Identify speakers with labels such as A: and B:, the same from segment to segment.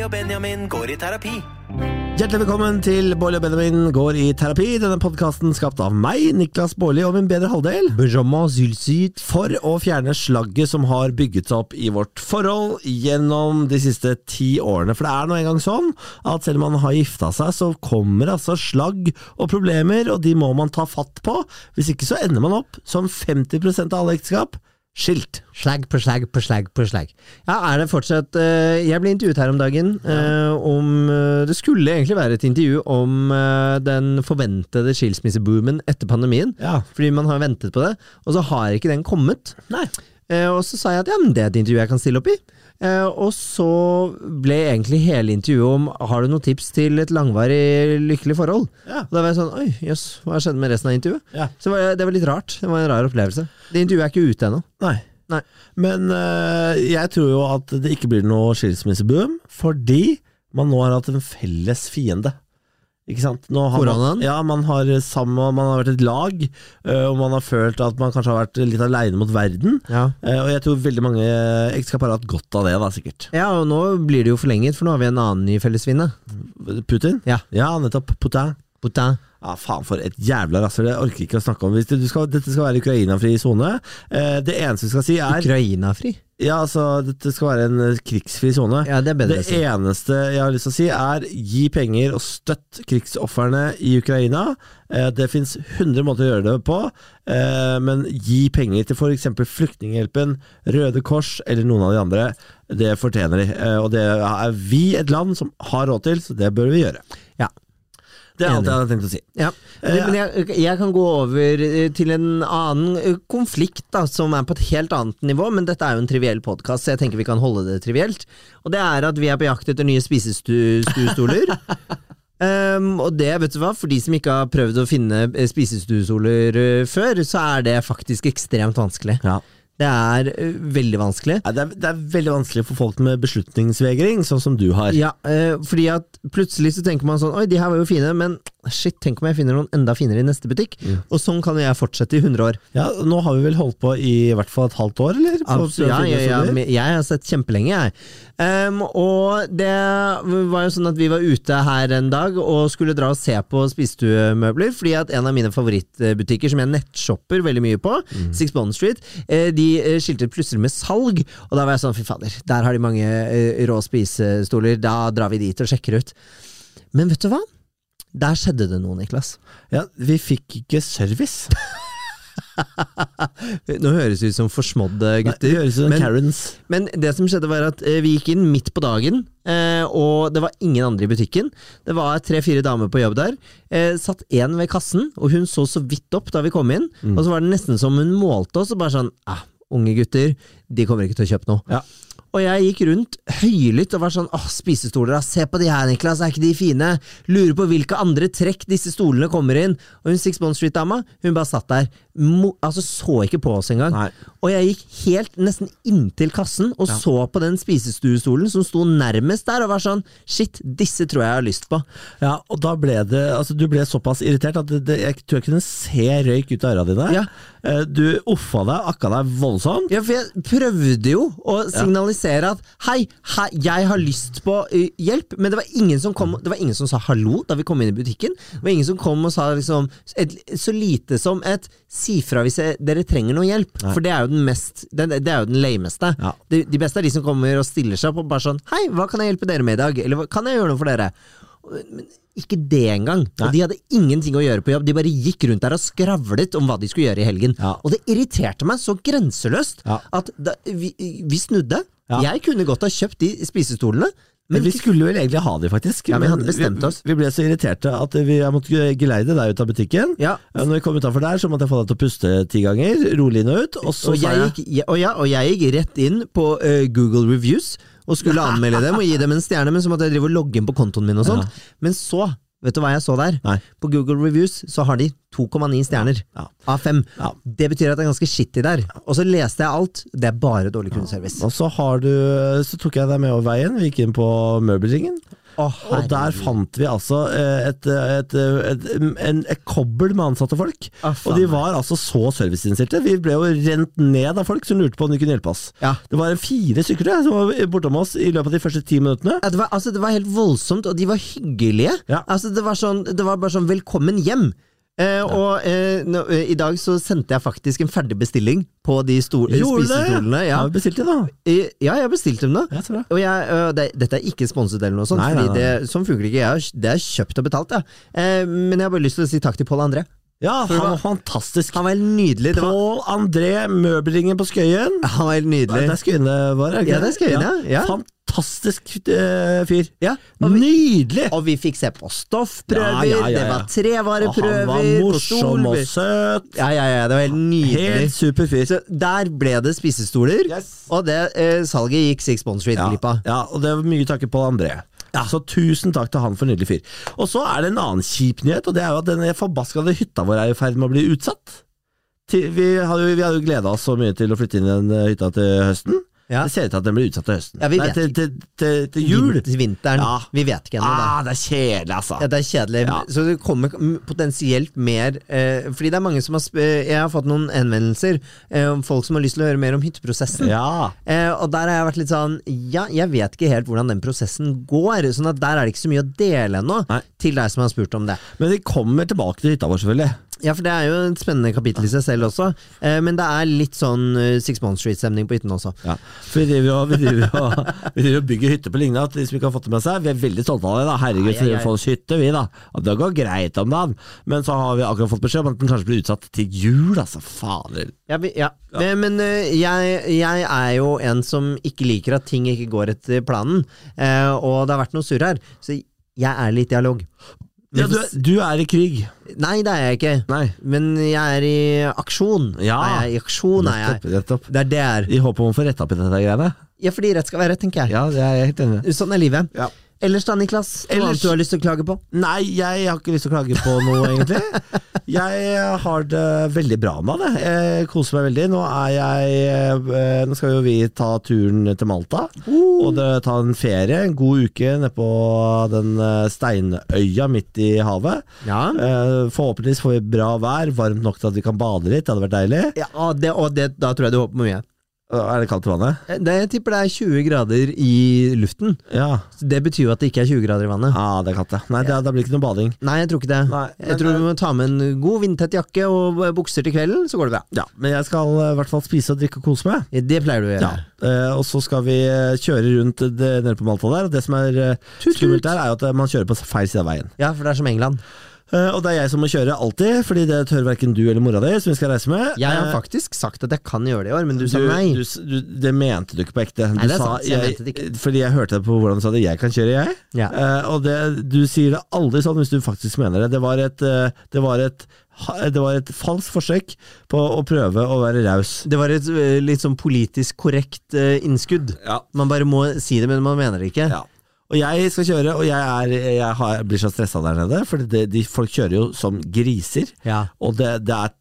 A: og Benjamin går i terapi.
B: Hjertelig velkommen til Bårli og Benjamin går i terapi. Denne podkasten skapt av meg, Niklas Bårli, og min bedre halvdel. Benjamin Zulsyd. For å fjerne slagget som har bygget seg opp i vårt forhold gjennom de siste ti årene. For det er nå engang sånn at selv om man har gifta seg, så kommer altså slagg og problemer, og de må man ta fatt på. Hvis ikke så ender man opp, som 50 av alle ekteskap, skilt.
C: Slag på slag på slag på slag. Ja, er det fortsatt eh, Jeg ble intervjuet her om dagen eh, om eh, Det skulle egentlig være et intervju om eh, den forventede skilsmisseboomen etter pandemien.
B: Ja.
C: Fordi man har ventet på det, og så har ikke den kommet.
B: Nei.
C: Eh, og så sa jeg at ja, men det er et intervju jeg kan stille opp i. Eh, og så ble egentlig hele intervjuet om har du noen tips til et langvarig lykkelig forhold.
B: Ja.
C: Og da var jeg sånn oi, jøss, hva skjedde med resten av intervjuet?
B: Ja.
C: Så var, jeg- det var litt rart. Det var en rar opplevelse. Det intervjuet er ikke ute ennå.
B: Nei.
C: Nei.
B: Men øh, jeg tror jo at det ikke blir noe skilsmisseboom, fordi man nå har hatt en felles fiende. Ikke sant? Nå har man,
C: Koronaen?
B: ja, man har sammen, man har vært et lag, øh, og man har følt at man kanskje har vært litt aleine mot verden.
C: Ja.
B: Eh, Og jeg tror veldig mange ekteskap har hatt godt av det, da, sikkert.
C: Ja, og nå blir det jo forlenget, for nå har vi en annen ny fellesvinne.
B: Putin?
C: Ja.
B: Ja, nettopp. Putin.
C: Putain.
B: Ja, faen for et jævla rasshøl. Jeg orker ikke å snakke om Hvis det. Du skal, dette skal være Ukraina-fri sone. Eh, Det eneste vi skal si, er
C: Ukraina-fri.
B: Ja, altså, dette skal være en eh, krigsfri sone.
C: Ja, det er bedre.
B: Det
C: å si.
B: eneste jeg har lyst til å si er gi penger og støtt krigsofrene i Ukraina. Eh, Det fins 100 måter å gjøre det på, eh, men gi penger til f.eks. Flyktninghjelpen, Røde Kors eller noen av de andre. Det fortjener de, eh, og det er vi et land som har råd til, så det bør vi gjøre.
C: Ja.
B: Det er alt
C: Enig.
B: jeg hadde tenkt å si.
C: Ja. Eh, Men men jeg, jeg kan gå over eh, til en annen eh, konflikt, da, som er på et helt annet nivå. Men dette er jo en triviell podkast, så jeg tenker vi kan holde det trivielt. Og det er at vi er på jakt etter nye spisestuestoler. Um, og det, vet du hva, for de som ikke har prøvd å finne eh, spisestuestoler eh, før, så er det faktisk ekstremt vanskelig.
B: Ja.
C: Det er eh, veldig vanskelig.
B: Nei, Det er, det er veldig vanskelig for folk med beslutningsvegring, sånn som du har.
C: Ja, eh, fordi at plutselig så tenker man sånn Oi, de her var jo fine, men shit, tenk om jeg finner noen enda finere i neste butikk? Og sånn kan jo jeg fortsette i 100 år.
B: Ja, nå har vi vel holdt på i i hvert fall et halvt år, eller? På
C: Absolutt, ja, ja, ja,
B: studier.
C: men jeg har sett kjempelenge, jeg. Ehm, og det var jo sånn at vi var ute her en dag og skulle dra og se på spisestuemøbler, fordi at en av mine favorittbutikker, som jeg nettshopper veldig mye på, Six Bond Street, eh, de eh, skilte plutselig med salg, og da var jeg sånn fy fader, der har de mange eh, rå spisestoler, da drar vi dit og sjekker ut. Men vet du hva? Der skjedde det noe, Niklas.
B: Ja, vi fikk ikke service.
C: Eh, Nå høres det ut som forsmådde
B: Nei, det høres ut som
C: men-
B: Karens.
C: Men det som skjedde var at eh, vi gikk inn midt på dagen, eh, og det var ingen andre i butikken. Det var tre-fire damer på jobb der. Eh, satt én ved kassen, og hun så så vidt opp da vi kom inn.
B: Mm.
C: Og så var det nesten som hun målte oss, og bare sånn ah, Unge gutter, de kommer ikke til å kjøpe noe.
B: Ja.
C: Og jeg gikk rundt høylytt og var sånn åh, spisestoler, ass. se på de her, Niklas, er ikke de fine? Lurer på hvilke andre trekk disse stolene kommer inn. Og hun Six Bond Street-dama, hun bare satt der. Mo altså så ikke på oss engang.
B: Nei.
C: Og jeg gikk helt nesten inntil kassen og så på den spisestuestolen som sto nærmest der, og var sånn shit, disse tror jeg jeg har lyst på.
B: Ja, og da ble det Altså, du ble såpass irritert at det, det, jeg tror jeg kunne se røyk ut av øra dine.
C: Ja.
B: Eh, Du uffa deg, akka deg voldsomt.
C: Ja, for jeg prøvde jo å signalisere at hei, hei, jeg har lyst på ø, hjelp, men det var, ingen som kom, det var ingen som sa hallo da vi kom inn i butikken. Det var ingen som kom og sa liksom et, så lite som et si fra hvis jeg, dere trenger noe hjelp, for det er jo den mest den, Det er jo den lameste.
B: Ja.
C: De, de beste er de som kommer og stiller seg opp og bare sånn hei, hva kan jeg hjelpe dere med i dag, eller hva kan jeg gjøre noe for dere? Men ikke det engang. Og de hadde ingenting å gjøre på jobb. De bare gikk rundt der og skravlet om hva de skulle gjøre i helgen.
B: Ja.
C: Og det irriterte meg så grenseløst
B: Ja.
C: at da, vi, vi snudde.
B: Ja.
C: Jeg kunne godt ha kjøpt de spisestolene,
B: Men
C: men
B: vi skulle vel egentlig ha de, faktisk.
C: Ja, vi
B: Men
C: hadde bestemt oss.
B: Vi, vi ble så irriterte at vi jeg måtte geleide deg ut av butikken.
C: Ja.
B: Eh, Når vi kom utafor der, så måtte jeg få deg til å puste ti ganger. Rolig nå ut. Og så
C: og,
B: sa
C: jeg
B: jeg
C: gikk, jeg- og, ja, og jeg gikk rett inn på eh, Google Reviews og skulle anmelde dem og gi dem en stjerne, men så måtte jeg drive og logge inn på kontoen min og sånt. Men så, vet du hva jeg så der?
B: Nei.
C: På Google Reviews så har de 2,9 stjerner
B: Ja.
C: av 5.
B: Ja.
C: Det betyr at det er ganske skittig der. Og så leste jeg alt. Det er bare dårlig kundeservice.
B: Og så, har du, så tok jeg deg med over veien. Vi gikk inn på møbelringen. Og der fant vi altså eh, et, et, eh, et, mm, en, et kobbel med ansatte folk.
C: Å, Ah, faen
B: og de
C: meg.
B: var altså så serviceinnstilte. Vi ble jo rent ned av folk som lurte på om de kunne hjelpe oss.
C: Ja.
B: Det var fire stykker tror jeg, som var bortom oss i løpet av de første ti minuttene.
C: Ja, det, var, altså, det var helt voldsomt, og de var hyggelige.
B: Ja.
C: Altså, det, var sånn, det var bare sånn 'velkommen hjem'. Eh, Og eh, nå, eh, i dag så sendte jeg faktisk en ferdig bestilling på de sto- eh,
B: Gjorde det?
C: spisestolene. Ja.
B: Har vi bestilt det, da?
C: Eh, ja, jeg bestilte dem da.
B: Ja, så bra.
C: Og jeg, øh, det, dette er ikke sponset eller noe sånt,
B: Nei, nei,
C: fordi Det, sånn funker det ikke. Jeg har, det er kjøpt og betalt, ja. eh, men jeg har bare lyst til å si takk til Pål André.
B: Ja,
C: det
B: han
C: var-
B: var fantastisk.
C: Han var helt nydelig. Det var,
B: Pål André Møbelringen på Skøyen.
C: han var helt
B: Nei, det
C: nydelig.
B: er Skøyene var, er det ikke
C: Ja, det er Skøyen, ja. Ja.
B: Fantastisk eh, fyr.
C: Ja, og, vi,
B: Nydelig!
C: og vi fikk se på stoffprøver,
B: Ja, ja, ja,
C: det
B: ja.
C: var
B: Og
C: trevareprøver,
B: han var
C: på
B: morsom og
C: stolprøver.
B: søt.
C: Ja, ja, ja, det var helt nydelig.
B: Helt super fyr.
C: Så der ble det spisestoler,
B: Yes.
C: og det eh, salget gikk Six Bond Street
B: Ja,
C: glipp av.
B: ja, og det var mye takket på André. Så tusen takk til han for en nydelig fyr. Og så er det en annen kjip nyhet, og det er jo at den forbaskede hytta vår er i ferd med å bli utsatt. Til, vi hadde jo, vi hadde jo gleda oss så mye til å flytte inn i den eh, hytta til høsten.
C: Ja.
B: Det ser ut til at den blir utsatt til høsten.
C: Ja, vi
B: Nei,
C: vet
B: til, til, til, til jul.
C: Vin- Vinteren.
B: Ja.
C: Vi vet ikke ennå, da.
B: Ah, det er kjedelig, altså.
C: Ja, det er kjedelig.
B: Ja.
C: Så det kommer m- potensielt mer eh, Fordi det er mange som har sp eh, Jeg har fått noen henvendelser eh, om folk som har lyst til å høre mer om hytteprosessen.
B: Ja.
C: Eh, og der har jeg vært litt sånn Ja, jeg vet ikke helt hvordan den prosessen går. Sånn at der er det ikke så mye å dele ennå,
B: Nei.
C: til deg som har spurt om det.
B: Men vi kommer tilbake til hytta vår, selvfølgelig.
C: Ja, for det er jo et spennende kapittel i seg selv også. Eh, men det er litt sånn eh, Six Month Street-stemning på hytten også.
B: Ja. For vi driver jo- vi driver jo- vi driver og bygger hytte på Lygna, til de som ikke har fått det med seg. Vi er veldig stolte av det. da Herregud, så
C: Ai, ai,
B: vi
C: ai.
B: får oss hytte, vi, da. Og det går greit om dagen. Men så har vi akkurat fått beskjed om at den kanskje blir utsatt til jul, altså. Fader.
C: Ja, vi, ja. Men, men, eh, jeg, jeg er jo en som ikke liker at ting ikke går etter planen, eh, og det har vært noe surr her, så jeg er litt i dialog.
B: Ja, du, er- du er i krig.
C: Nei, det er jeg ikke.
B: Nei.
C: Men jeg er i aksjon.
B: Ja.
C: Er jeg i aksjon er
B: Nettopp.
C: jeg.
B: nettopp.
C: Det er det jeg er.
B: I håp om å få retta opp i dette greiene.
C: Ja, fordi rett skal være rett, tenker jeg.
B: Ja, jeg er helt enig.
C: Sånn er livet.
B: Ja.
C: Ellers da, Niklas? Noe
B: Ellers-
C: annet du har lyst til å klage på?
B: Nei, jeg har ikke lyst til å klage på noe, egentlig. Jeg har det veldig bra med det. Jeg koser meg veldig. Nå, er jeg, eh, nå skal jo vi ta turen til Malta. Og det, ta en ferie, en god uke nede på den eh, steinøya midt i havet.
C: Ja.
B: Eh, Forhåpentligvis får vi bra vær, varmt nok til at vi kan bade litt. Det hadde vært deilig.
C: ja og det, og det, da tror jeg du håper på mye.
B: Er det kaldt i vannet?
C: Eh, Det, jeg tipper det er 20 grader i luften.
B: Ja.
C: Så det betyr jo at det ikke er 20 grader i vannet.
B: Ja, det er kaldt, ja. Nei, det, da blir det ikke noe bading.
C: Nei, jeg tror ikke det.
B: Nei, men- eh,
C: jeg tror du må ta med en god vindtett jakke og bukser til kvelden, så går det bra.
B: Ja, men jeg skal eh, i hvert fall spise og drikke og kose meg.
C: Det pleier du å gjøre.
B: Ja, eh, og så skal vi eh, kjøre rundt det, nede på Malta der. Og det som er eh,
C: Tut, tut.
B: skummelt der, er jo at eh, man kjører på feil side av veien.
C: Ja, for det er som England.
B: Eh, og det er jeg som må kjøre alltid, fordi det tør verken du eller mora di, som vi skal reise med.
C: Jeg har
B: Eh,
C: faktisk sagt at jeg kan gjøre det i år, men du sa
B: du,
C: nei.
B: du, s- du, det mente du ikke på ekte.
C: Nei,
B: Du
C: det er
B: sa,
C: sant, jeg mente det
B: Fordi jeg hørte det på hvordan du sa det. Jeg kan kjøre, jeg.
C: Ja.
B: Eh, og det, du sier det aldri sånn hvis du faktisk mener det. Det var et, eh, det var et, ha- det var et falskt forsøk på å prøve å være raus.
C: Det var et ø, litt sånn politisk korrekt ø, innskudd.
B: Ja.
C: Man bare må si det, men man mener det ikke.
B: Ja. Og jeg skal kjøre, og jeg, er, jeg har, blir så stressa der nede, for det, de, folk kjører jo som griser.
C: Ja.
B: Og det, det er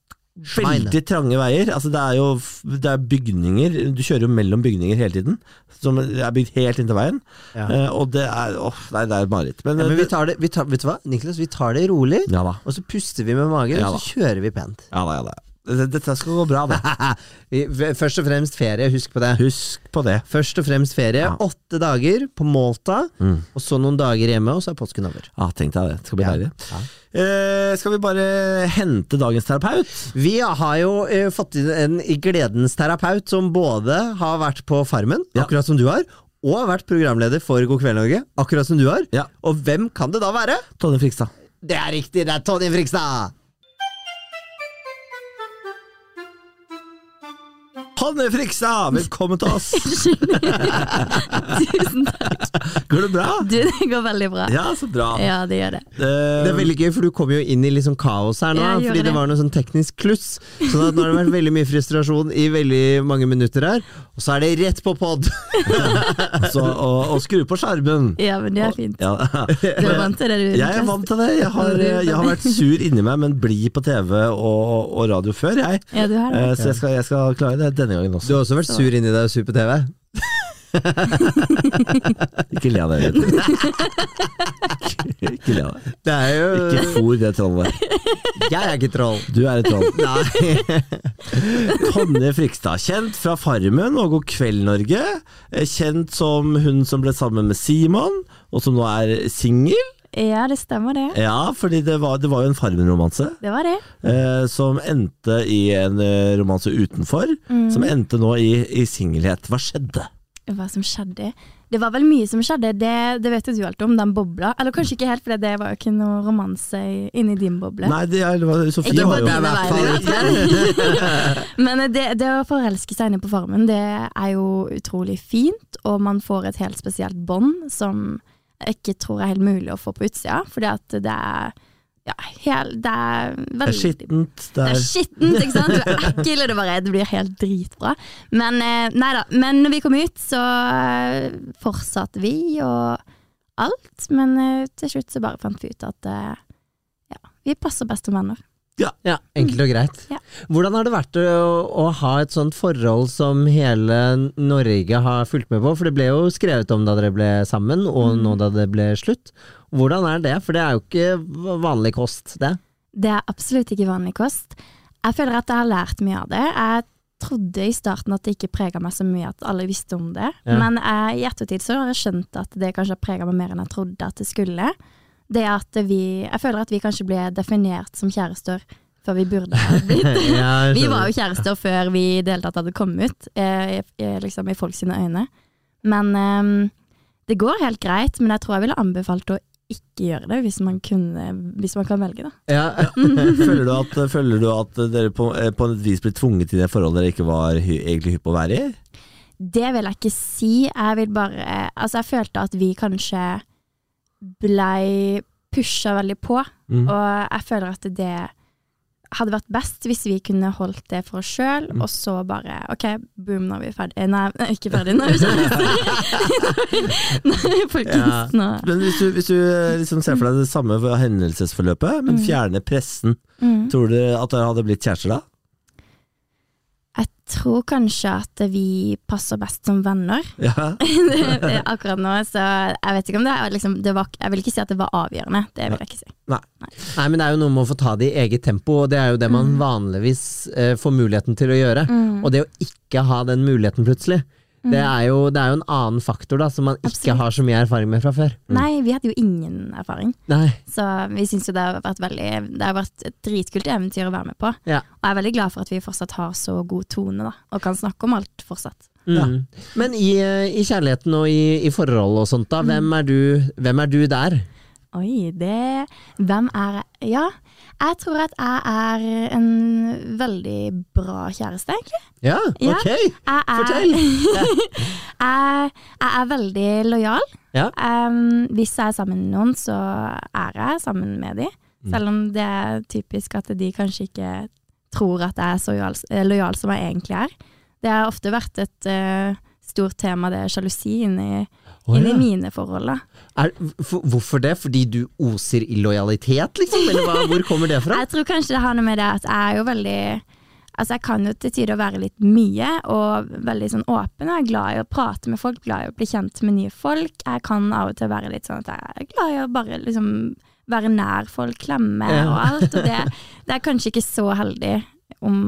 C: Svein.
B: veldig trange veier. Altså det er jo f- det er bygninger, du kjører jo mellom bygninger hele tiden. Som er bygd helt inntil veien.
C: Ja.
B: Eh, og det er åh, nei, det er et mareritt. Men,
C: Men vi
B: det-
C: tar det, vi tar, vet du hva, Niklas, vi tar det rolig,
B: ja da.
C: og så puster vi med magen,
B: Ja
C: og så kjører vi pent.
B: Ja da, ja da. Dette- Dette skal gå bra, det.
C: Vi, v- først og fremst ferie, husk på det.
B: Husk på det.
C: Først og fremst ferie.
B: Ja. Mm.
C: Åtte dager på Malta, og så noen dager hjemme, og så er påsken over.
B: Ja, tenk deg det. Det skal bli
C: Ja.
B: deilig. Eh, skal vi bare hente dagens terapeut?
C: Vi har jo eh, fått inn en gledens terapeut som både har vært på Farmen,
B: Ja.
C: akkurat som du har, og har vært programleder for God kveld Norge, akkurat som du har.
B: Ja.
C: Og hvem kan det da være?
B: Tonje Frikstad.
C: Det er riktig, det er Tonje Frikstad!
B: Hanne Frikstad, velkommen til oss!
A: Tusen takk.
B: Går det bra?
A: Du, det går veldig bra.
B: Ja, så bra.
A: Ja, det gjør det.
B: Eh,
C: Det er veldig gøy, for du kom jo inn i litt sånn kaos her nå,
A: Jeg gjorde
C: fordi det.
A: det.
C: var noe sånn teknisk kluss. Sånn at nå har det vært veldig mye frustrasjon i veldig mange minutter her, og så er det rett på pod!
B: så, og, og skru på skjermen.
A: Ja, men det er fint.
B: Ja.
A: Du er vant til det, du.
B: Jeg er vant til det. Jeg har, eh, jeg har vært sur inni meg, men blid på TV og, og radio før, jeg.
A: Ja, du er det.
B: Eh, Så jeg skal, jeg skal klare det denne gangen
C: Du
B: også.
C: har også vært sur inni deg og sur på TV.
B: Ikke le av det. Ruth. Ikke le av det.
C: Det er jo
B: Ikke fôr det trollet.
C: Jeg er ikke troll.
B: Du er et troll.
C: Nei.
B: Tonje Frikstad, kjent fra Farmen og God kveld Norge. Eh, Kjent som hun som ble sammen med Simon, og som nå er singel.
A: Ja, det stemmer det.
B: Eh. Ja, fordi det var, det var jo en Farmen-romanse.
A: Det var det.
B: eh, som endte i en eh, romanse utenfor, som endte nå i, i singelhet. Hva skjedde?
A: Hva som skjedde? Det var vel mye som skjedde, det, det vet jo du alt om, den bobla. Eller kanskje ikke helt, for det var jo ikke noe romanse i- inni din boble.
B: Nei, det, er- det var, Sofie
A: Det var
B: har jo
A: det. Men eh, det, det å forelske seg inne på Farmen, det er jo utrolig fint, og man får et helt spesielt bånd som jeg ikke tror er helt mulig å få på utsida, fordi at det er ja, hel, det er
B: det
A: veldig
B: er skittent. Det
A: det er
B: er,
A: skittent, ikke sant? Du er ekkel, og det bare det blir helt dritbra. Men eh, nei da. Men når vi kom ut, så eh, fortsatte vi og alt. Men eh, til slutt så bare fant vi ut at eh, ja, vi passer best som venner.
C: Ja, enkelt og greit.
A: Ja.
C: Hvordan har det vært å, å ha et sånt forhold som hele Norge har fulgt med på? For det ble jo skrevet om da dere ble sammen, og nå da det ble slutt. Hvordan er det? For det er jo ikke vanlig kost, det.
A: Det er absolutt ikke vanlig kost. Jeg føler at jeg har lært mye av det. Jeg trodde i starten at det ikke prega meg så mye at alle visste om det,
C: Ja.
A: men eh, i ettertid så har jeg skjønt at det kanskje har prega meg mer enn jeg trodde at det skulle. Det at vi, Jeg føler at vi kanskje ble definert som kjærester før vi burde ha blitt.
C: Ja, jeg
A: Vi
C: skjønner.
A: var jo kjærester før vi i det hele tatt hadde kommet ut, eh, i- i- liksom i folk sine øyne. Men ehm, det går helt greit, men jeg tror jeg ville anbefalt å ikke gjøre det, hvis man, kunne, hvis man kan velge, da.
C: ja,
B: føler, du at, føler du at dere på, eh, på et vis ble tvunget til det forholdet dere ikke var hy, egentlig hypp på å være i?
A: Det vil jeg ikke si. Jeg vil bare Altså, jeg følte at vi kanskje blei pusha veldig på,
B: Mm.
A: og jeg føler at det hadde vært best hvis vi kunne holdt det for oss sjøl, og så bare OK, boom, nå er vi ferdig. Nei, nei, ikke ferdig, nå er vi kjærester. Nei, folkens, nå
B: Men hvis du, hvis du eh, liksom ser for deg det samme for hendelsesforløpet, men fjerner pressen,
A: Mm.
B: tror du at dere hadde blitt kjærester da?
A: Jeg tror kanskje at vi passer best som venner.
B: Ja.
A: Akkurat nå, så jeg vet ikke om det er liksom, det var, Jeg vil ikke si at det var avgjørende, det vil jeg ikke si.
C: Nei, men det er jo noe med å få ta det i eget tempo, og det er jo det
A: Mm.
C: man vanligvis eh, får muligheten til å gjøre. Og det å ikke ha den muligheten plutselig, det, er jo, det er jo en annen faktor da, som man ikke
A: Mm. Absolutt.
C: har så mye erfaring med fra før.
A: Nei, vi hadde jo ingen erfaring.
C: Nei,
A: Så vi syns jo det har vært veldig Det har vært et dritkult eventyr å være med på.
C: ja.
A: Og jeg er veldig glad for at vi fortsatt har så god tone, da. Og kan snakke om alt fortsatt.
C: Mm. Men i, eh, i kjærligheten og i, i forhold og sånt,
A: Mm.
C: da, hvem, er du, hvem er du der?
A: Oi, det Hvem er jeg? Ja, jeg tror at jeg er en veldig bra kjæreste, egentlig.
C: Ja,
A: Ja.
C: ok!
A: Jeg er,
C: Fortell!
A: jeg, jeg er veldig lojal.
C: Ja.
A: Em, hvis jeg er sammen med noen, så er jeg sammen med de.
C: Mm.
A: Selv om det er typisk at de kanskje ikke tror at jeg er så lojal, eh, lojal som jeg egentlig er. Det har ofte vært et eh, stort tema, det er sjalusi inni,
C: Å,
A: inni
C: ja.
A: mine forhold. Da.
C: Er, for, hvorfor det? Fordi du oser illojalitet, liksom? Eller hva, hvor kommer det fra?
A: Jeg tror kanskje det har noe med det at jeg er jo veldig Altså Jeg kan jo til tider være litt mye og veldig sånn åpen. Jeg er glad i å prate med folk, glad i å bli kjent med nye folk. Jeg kan av og til være litt sånn at jeg er glad i å bare liksom være nær folk, klemme
C: Ja.
A: og alt. Og det, det er kanskje ikke så heldig om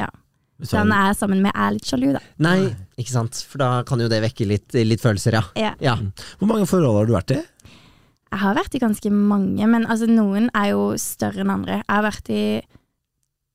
A: ja,
B: Sånn.
A: den jeg er sammen med er litt sjalu, da.
C: Nei, ikke sant? For da kan jo det vekke litt, litt følelser, ja.
A: Ja.
C: ja.
B: Hvor mange forhold har du vært i?
A: Jeg har vært i ganske mange, men altså, noen er jo større enn andre. Jeg har vært i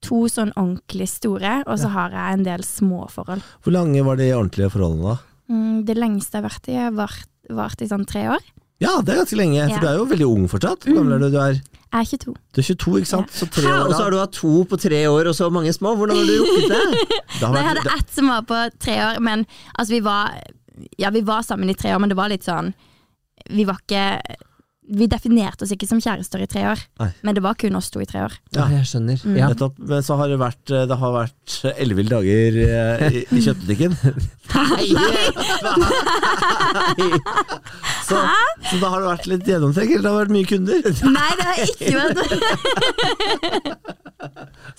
A: to sånn ordentlig store, og så har jeg en del små forhold.
B: Hvor lange var de ordentlige forholdene da?
A: Mm, det lengste jeg har vært i, har vært, vært i sånn tre år.
B: Ja, det er ganske lenge, for
A: Ja.
B: du er jo veldig ung fortsatt. Hvor gammel er du? Du er,
A: Jeg er 22.
B: du er 22, ikke sant? Så tre
C: Hæ,
B: år
C: Og så
B: da.
C: har du hatt to på tre år, og så mange små. Hvordan har du rukket det?
B: Det har
A: Nei, jeg
B: vært,
A: hadde ett som var på tre år, men altså, vi var Ja, vi var sammen i tre år, men det var litt sånn Vi var ikke Vi definerte oss ikke som kjærester i tre år,
B: Nei.
A: men det var kun oss to i tre år.
C: Ja, jeg skjønner. Ja.
B: Nettopp, men så har det vært eh, Det har vært elleville dager eh, i, i kjøttbutikken. Så, så da har det vært litt gjennomtrekk. eller Det har vært mye kunder.
A: Nei, det har jeg ikke vært!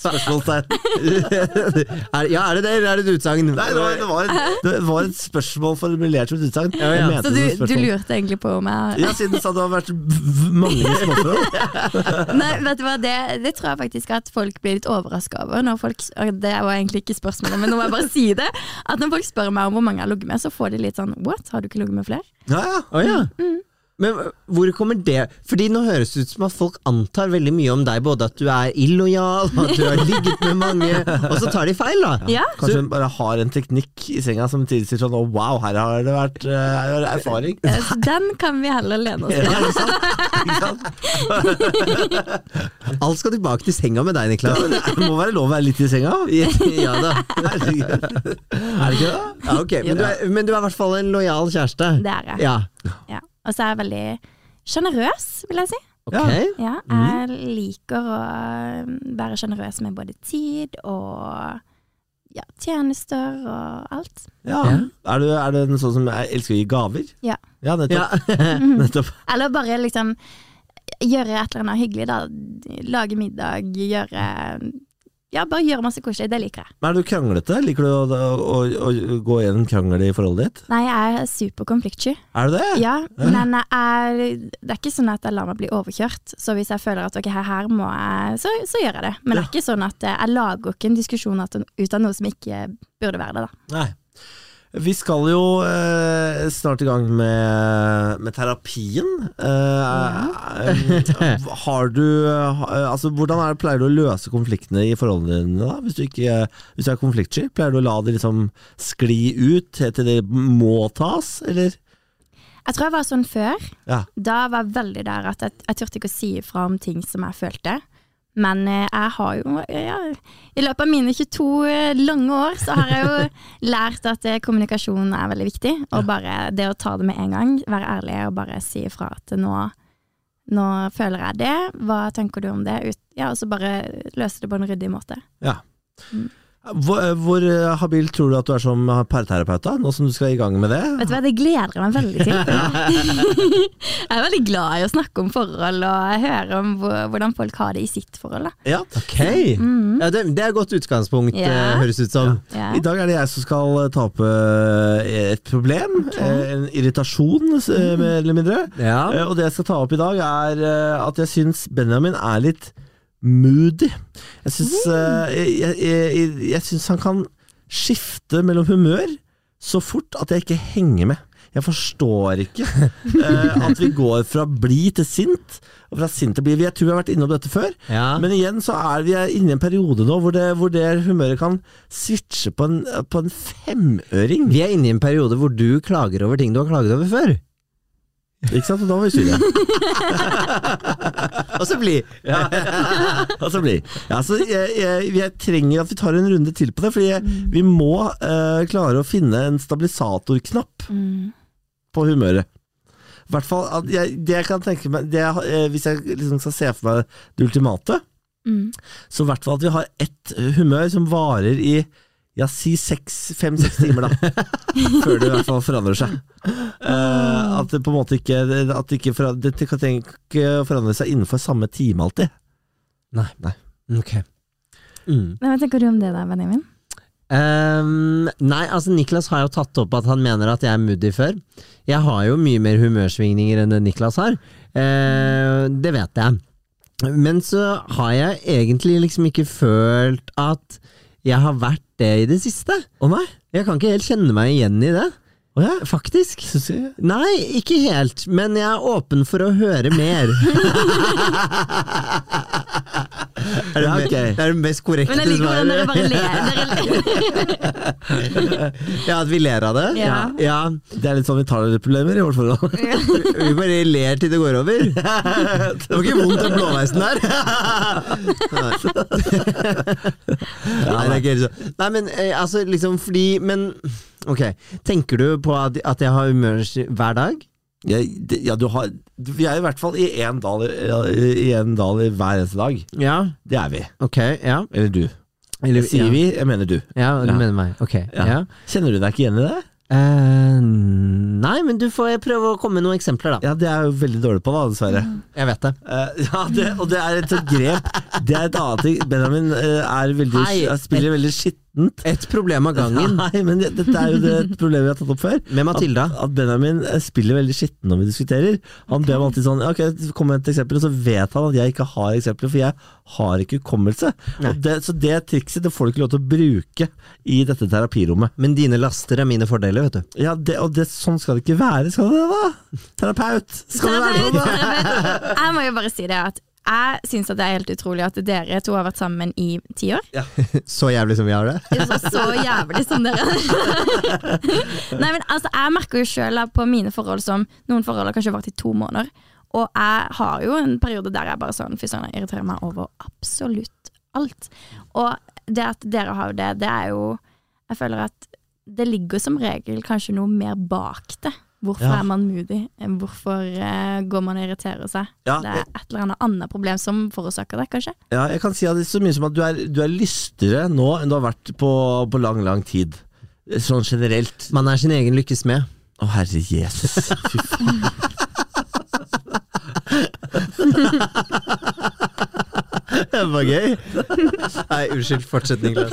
B: Spørsmålstegn.
C: Er, ja, er det det, eller er det et utsagn?
B: Nei, det var, det, var, det var et spørsmål formulert som et utsagn.
C: Ja, ja.
B: Jeg mente
A: Så
B: det
A: du,
B: som et
A: du
B: spørsmål.
A: lurte egentlig på om jeg
B: Ja, siden du sa det har vært v- mange småfrål.
A: Nei, vet du hva, det, det tror jeg faktisk at folk blir litt overraska over. Når folk, og det var egentlig ikke spørsmålet, men nå må jeg bare si det. At når folk spør meg om hvor mange jeg har ligget med, så får de litt sånn what, har du ikke ligget med flere?
B: Ja, ja.
C: Å ja. Mm. Men hvor kommer det Fordi nå høres det ut som at folk antar veldig mye om deg, både at du er illojal, og at du har ligget med mange, og så tar de feil, da.
A: Ja.
B: Kanskje hun bare har en teknikk i senga som tilsier sånn Å, wow, her har det vært eh, her har det erfaring.
A: Eh, så Den kan vi heller lene oss på.
B: Ja, ikke sant? Ikke sant?
C: Alt skal tilbake til senga med deg,
B: Ja,
C: Niklas.
B: men det må være lov å være litt i senga.
C: Ja da.
B: Herregud. Er det ikke det?
C: Ja, ok, men, du er, men du er i hvert fall en lojal kjæreste.
A: Det er jeg.
C: Ja.
A: Ja. Og så er jeg veldig sjenerøs, vil jeg si.
C: Ok.
B: Ja.
A: Ja, jeg liker å um, være sjenerøs med både tid og ja, tjenester og alt.
B: Ja. Er, du, er det en sånn som jeg elsker å gi gaver?
A: Ja.
B: Ja,
C: Ja.
B: nettopp. nettopp.
A: Eller bare liksom gjøre et eller annet hyggelig, da. Lage middag, gjøre Ja, bare gjøre masse koselig. Det liker jeg.
B: Men er du kranglete? Liker du å, å, å, å gå gjennom krangel i forholdet ditt?
A: Nei, jeg er superkonfliktsky.
B: Er du det?
A: Ja, men jeg er, det er ikke sånn at jeg lar meg bli overkjørt. Så hvis jeg føler at ok, her, her må jeg, så, så gjør jeg det. Men det er ikke sånn at eh, jeg lager ikke en diskusjon at- ut av noe som ikke burde være det, da.
B: Nei. Vi skal jo eh, snart i gang med, med terapien. Eh, eh, har du eh, Altså, hvordan er det, pleier du å løse konfliktene i forholdene dine, da? Hvis du, ikke, hvis du er konfliktsky? Pleier du å la det liksom skli ut helt til det må tas, eller?
A: Jeg tror jeg var sånn før.
B: Ja.
A: Da var jeg veldig der at jeg, jeg turte ikke å si ifra om ting som jeg følte. Men eh, jeg har jo ja, I løpet av mine 22 lange år så har jeg jo lært at eh, kommunikasjon er veldig viktig. Og bare det å ta det med en gang, være ærlig og bare si ifra at nå, nå føler jeg det, hva tenker du om det? Ut, ja, og så bare løse det på en ryddig måte.
B: ja. Hvor, hvor eh, habil tror du at du er som parterapeut, da? Nå som du skal i gang med det?
A: Vet du hva, det gleder jeg meg veldig til. jeg er veldig glad i å snakke om forhold og høre om hvor- hvordan folk har det i sitt forhold. Da.
B: Ja.
C: Ok. Ja, det, det er et godt utgangspunkt,
A: Ja.
C: eh, høres ut som.
A: Ja.
B: I dag er det jeg som skal ta opp eh, et problem, eh, en irritasjon, s- eh, mer eller mindre.
C: Ja.
B: Eh, Og det jeg skal ta opp i dag, er eh, at jeg syns Benjamin er litt moody. Jeg syns, eh, jeg, jeg, jeg, jeg syns han kan skifte mellom humør så fort at jeg ikke henger med. Jeg forstår ikke eh, at vi går fra blid til sint, og fra sint til blid. Jeg tror vi har vært innom dette før,
C: Ja.
B: men igjen så er vi inne i en periode nå hvor det, hvor det humøret kan switche på en, på en femøring.
C: Vi er inne i en periode hvor du klager over ting du har klaget over før.
B: Ikke sant? Og da var vi sure.
C: Og så bli!
B: Ja. altså bli. Ja, så jeg, jeg, jeg trenger at vi tar en runde til på det, fordi jeg,
A: Mm.
B: vi må eh, klare å finne en stabilisatorknapp
A: Mm.
B: på humøret. I hvert fall at jeg, det jeg kan tenke meg det, jeg- eh, Hvis jeg liksom skal se for meg det ultimate,
A: Mm.
B: så i hvert fall at vi har ett eh, humør som varer i ja, si seks- fem-seks timer, da. Før det i hvert fall forandrer seg. Eh, at det på en måte ikke At det ikke forandrer, dette kan tenke å forandre seg innenfor samme time alltid.
C: Nei.
B: Nei.
C: Ok. Mm.
A: Nei, Hva tenker du om det da, Benjamin?
C: Ehm, nei, altså Niklas har jo tatt opp at han mener at jeg er moody før. Jeg har jo mye mer humørsvingninger enn det Niklas har. Eh, det vet jeg. Men så har jeg egentlig liksom ikke følt at jeg har vært det i det siste.
B: Å nei?
C: Jeg kan ikke helt kjenne meg igjen i det,
B: Å ja?
C: faktisk.
B: Syns jeg
C: Nei, ikke helt, men jeg er åpen for å høre mer. er det,
B: Ja,
C: me-
B: ok.
C: det er det mest korrekte
A: Men jeg liker hvordan dere bare ler.
C: Ja, at vi ler av det?
A: Ja.
C: ja.
B: Det er litt sånn vi tar litt problemer i vårt forhold.
C: Vi bare ler til det går over. Det var ikke vondt den blåveisen der. Nei. Nei, det er ikke helt så. Nei, men eh, altså liksom fordi Men ok, tenker du på at, at jeg har humørs hver dag?
B: Jeg, det- ja, du har, vi er i hvert fall i én dal, i- i en dal i hver eneste dag.
C: Ja.
B: Det er vi.
C: Ok, ja.
B: Eller du.
C: Eller
B: Sier
C: ja.
B: vi, jeg mener du.
C: Ja, du
B: Ja.
C: mener meg. Ok.
B: Ja.
C: Ja.
B: Kjenner du deg ikke igjen i det?
C: Eh, nei, men du får prøve å komme med noen eksempler, da.
B: Ja, det er jeg jo veldig dårlig på, da, dessverre.
C: Jeg vet det.
B: Eh, ja, det, og det er et grep. Det er et annet ting. Benjamin eh, er veldig,
C: Hei.
B: spiller veldig skittent.
C: Et problem av gangen
B: Nei, men det, dette er jo det et problem vi har tatt opp før.
C: med Matilda.
B: At, at Benjamin eh, spiller veldig skitten når vi diskuterer. Han ber meg alltid sånn Ok, kom med et eksempel, og så vet han at jeg ikke har eksempler, for jeg har ikke hukommelse.
C: Nei.
B: Og det, så det trikset det får du ikke lov til å bruke i dette terapirommet.
C: Men dine laster er mine fordeler, vet du.
B: Ja, det, Og det, sånn skal det ikke være, skal det det, da? Terapeut! Skal det være sånn, da?
A: Terapeut. Jeg må jo bare si det at jeg syns det er helt utrolig at dere to har vært sammen i ti år.
C: Så jævlig som vi har det.
A: Det er så, så jævlig som dere. Nei, men altså, Jeg merker jo sjøl på mine forhold som noen forhold har kanskje vart i to måneder. Og jeg har jo en periode der jeg bare sånn Fy søren, jeg irriterer meg over absolutt alt. Og det at dere har jo det, det er jo Jeg føler at det ligger som regel kanskje noe mer bak det. Hvorfor
B: Ja.
A: er man moody? Hvorfor eh, går man og irriterer seg?
B: Ja,
A: det er et eller annet annet problem som forårsaker det, kanskje.
B: Ja, jeg kan si at det er så mye som at du er, du er lystigere nå enn du har vært på, på lang, lang tid. Sånn generelt.
C: Man er sin egen lykkes med.
B: Å, herre Jesus. Fy faen.
C: Det var gøy. Nei, unnskyld. Fortsett, Niklas.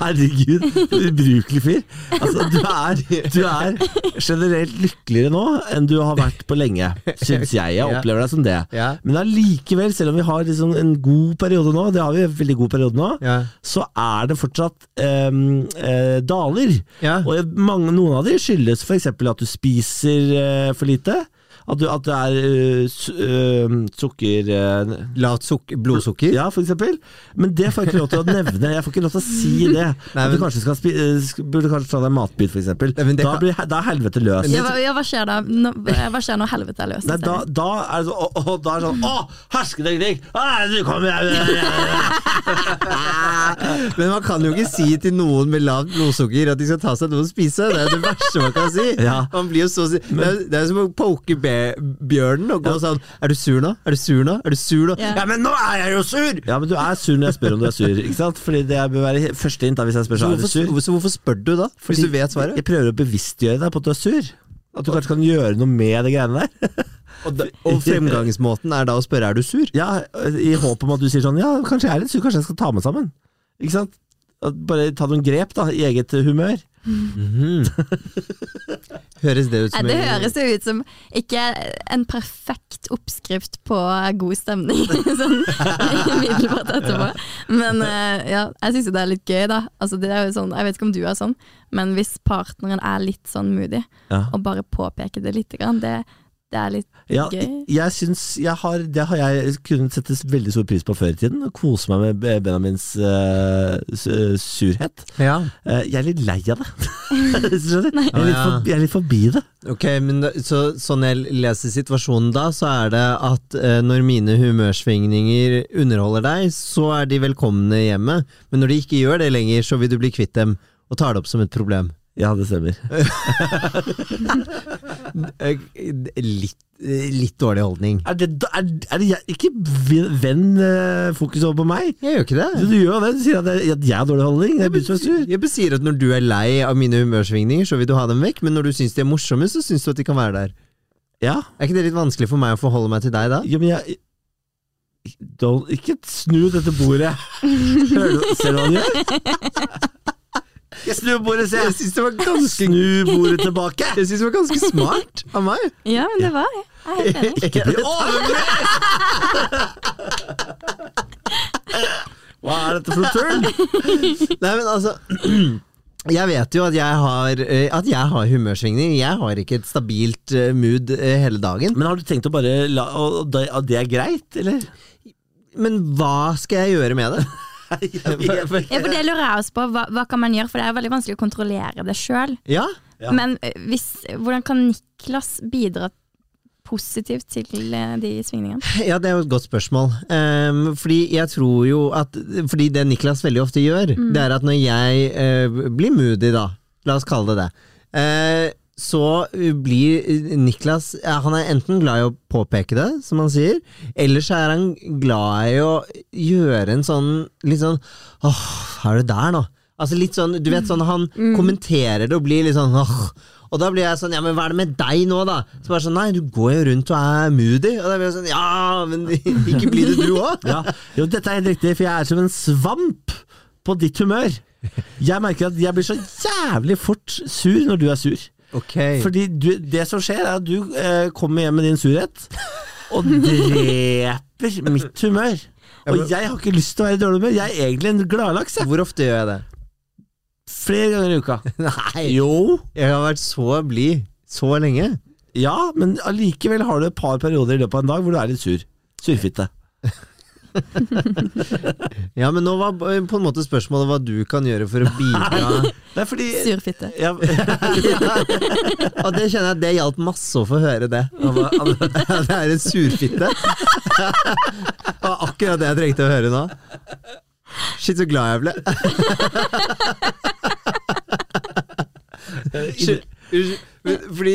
B: Herregud, ubrukelig fyr. Altså, du er, du er generelt lykkeligere nå enn du har vært på lenge, syns jeg. Jeg opplever deg som det.
C: Ja.
B: Men allikevel, selv om vi har liksom en god periode nå, det har vi en veldig god periode nå,
C: Ja.
B: så er det fortsatt em, eh, daler.
C: Ja.
B: Og mange, noen av de skyldes f.eks. at du spiser eh, for lite. At, du, at det er eh, su- eh, sukker... eh,
C: Lavt suk blodsukker.
B: ja, for eksempel. Men det får jeg ikke lov til å nevne. Jeg får ikke lov til å si det.
C: Nei,
B: at du
C: men-
B: kanskje skal spi eh, sk- burde kanskje ta deg en matbit, for eksempel.
C: Nei, men det
B: da,
C: kan-
B: blir, he- da er helvete løs.
A: Ja, hva, ja, hva skjer da? Nå, hva skjer når helvete er løs?
B: Nei, da, da er det sånn Å, å, da er det sånn Å, hersketeknikk! Å, Du kommer eh,
C: Men man kan jo ikke si til noen med lavt blodsukker at de skal ta seg noe å spise. Det er det verste man kan si.
B: Ja.
C: Man blir jo så, si- det, er, det er som å poke be- bjørnen og gå sånn Er du sur nå? Er du sur nå? Er du sur nå?
A: Ja.
C: Ja, men nå er jeg jo sur!
B: Ja, men du er sur når jeg spør om du er sur. Ikke sant? Fordi det bør være he- første hint da, hvis jeg
C: Så
B: spør så er du
C: hvorfor,
B: sur.
C: så hvorfor spør du da? Hvis du vet svaret?
B: Jeg prøver å bevisstgjøre deg på at du er sur. At du kanskje kan gjøre noe med de greiene der.
C: Og, da, og fremgangsmåten er da å spørre er du sur?
B: Ja, I håp om at du sier sånn Ja, kanskje jeg er litt sur, kanskje jeg skal ta meg sammen. Ikke sant? At Bare ta noen grep, da, i eget humør.
C: Høres det ut
A: Nei,
C: som
A: det
C: en-
A: høres jo ut som ikke en perfekt oppskrift på god stemning, sånn umiddelbart etterpå. Men eh, ja, jeg syns jo det er litt gøy, da. Altså, det er jo sånn, jeg vet ikke om du er sånn, men hvis partneren er litt sånn moody,
B: Ja.
A: og bare påpeker det lite grann, det, det er litt
B: Ja,
A: Gøy.
B: jeg synes jeg har, Det har jeg kunnet sette veldig stor pris på før i tiden. og Kose meg med Benjamins eh, su- surhet.
C: Ja,
B: Eh, jeg er litt lei av det. Skjønner du? Jeg er,
C: Å,
B: litt
C: ja.
B: forbi, jeg er litt forbi det.
C: ok, men da, så, Sånn jeg leser situasjonen da, så er det at eh, når mine humørsvingninger underholder deg, så er de velkomne hjemme. Men når de ikke gjør det lenger, så vil du bli kvitt dem og tar det opp som et problem.
B: Ja, det stemmer.
C: Eh, Litt, eh, litt dårlig holdning.
B: Er det, er, er det jeg, ikke v- venn eh, fokus over på meg?
C: Jeg gjør ikke
B: Du,
C: det.
B: du gjør jo det. Du sier at jeg, at jeg har dårlig holdning. Jeg begynner å være sur.
C: Jeg bare sier at når du er lei av mine humørsvingninger, så vil du ha dem vekk, men når du syns de er morsomme, så syns du at de kan være der.
B: Ja,
C: Er ikke det litt vanskelig for meg å forholde meg til deg da?
B: jo, men jeg Don't, Ikke snu dette bordet. Hører du, ser du hva du gjør? Snu bordet, se!
C: Jeg syns det var ganske
B: Snu bordet tilbake!
C: Jeg synes det var ganske smart av meg.
A: Ja, men det var det. Jeg er helt enig.
C: Ikke bli
B: overbevist! Hva er dette for noe tull?
C: Nei, men altså Jeg vet jo at jeg har, eh, at jeg har humørsvingninger. Jeg har ikke et stabilt eh, mood eh, hele dagen.
B: Men har du tenkt å bare la og, og det, at det er greit, eller?
C: Men hva skal jeg gjøre med det?
A: Ja, for det lurer jeg også på. Hva, hva kan man gjøre? For det er veldig vanskelig å kontrollere det sjøl.
C: Ja,
B: Ja.
A: Men eh, hvis, hvordan kan Niklas bidra positivt til eh, de svingningene?
C: ja, det er jo et godt spørsmål. Ehm, fordi jeg tror jo at Fordi det Niklas veldig ofte gjør, det er at når jeg eh, blir moody, da, la oss kalle det det, eh, så blir Niklas eh, Han er enten glad i å påpeke det, som han sier, eller så er han glad i å gjøre en sånn litt sånn Åh, er du der nå? Altså litt sånn, du vet sånn, Han kommenterer det og blir litt sånn åh. Og da blir jeg sånn Ja, men hva er det med deg nå, da? Så bare sånn Nei, du går jo rundt og er moody. Og da blir jeg sånn Ja, men ikke blir det du òg?
B: Ja. Jo, dette er helt riktig, for jeg er som en svamp på ditt humør. Jeg merker at jeg blir så jævlig fort sur når du er sur.
C: Ok.
B: Fordi du, det som skjer, er at du eh, kommer hjem med din surhet og dreper mitt humør. Og jeg har ikke lyst til å være i dårlig humør. Jeg er egentlig en gladlaks. jeg.
C: Hvor ofte gjør jeg det?
B: Flere ganger i uka.
C: Nei,
B: Jo.
C: jeg har vært så blid så lenge.
B: Ja, men allikevel har du et par perioder i løpet av en dag hvor du er litt sur. Surfitte.
C: Ja, men nå var eh, på en måte spørsmålet hva du kan gjøre for å bidra.
B: Det er fordi
A: Surfitte.
B: ja,
C: Og det kjenner jeg at det hjalp masse å få høre det. Det er en surfitte. Det var akkurat det jeg trengte å høre nå. Shit, så glad jeg ble. Unnskyld. Unnskyld. Men Fordi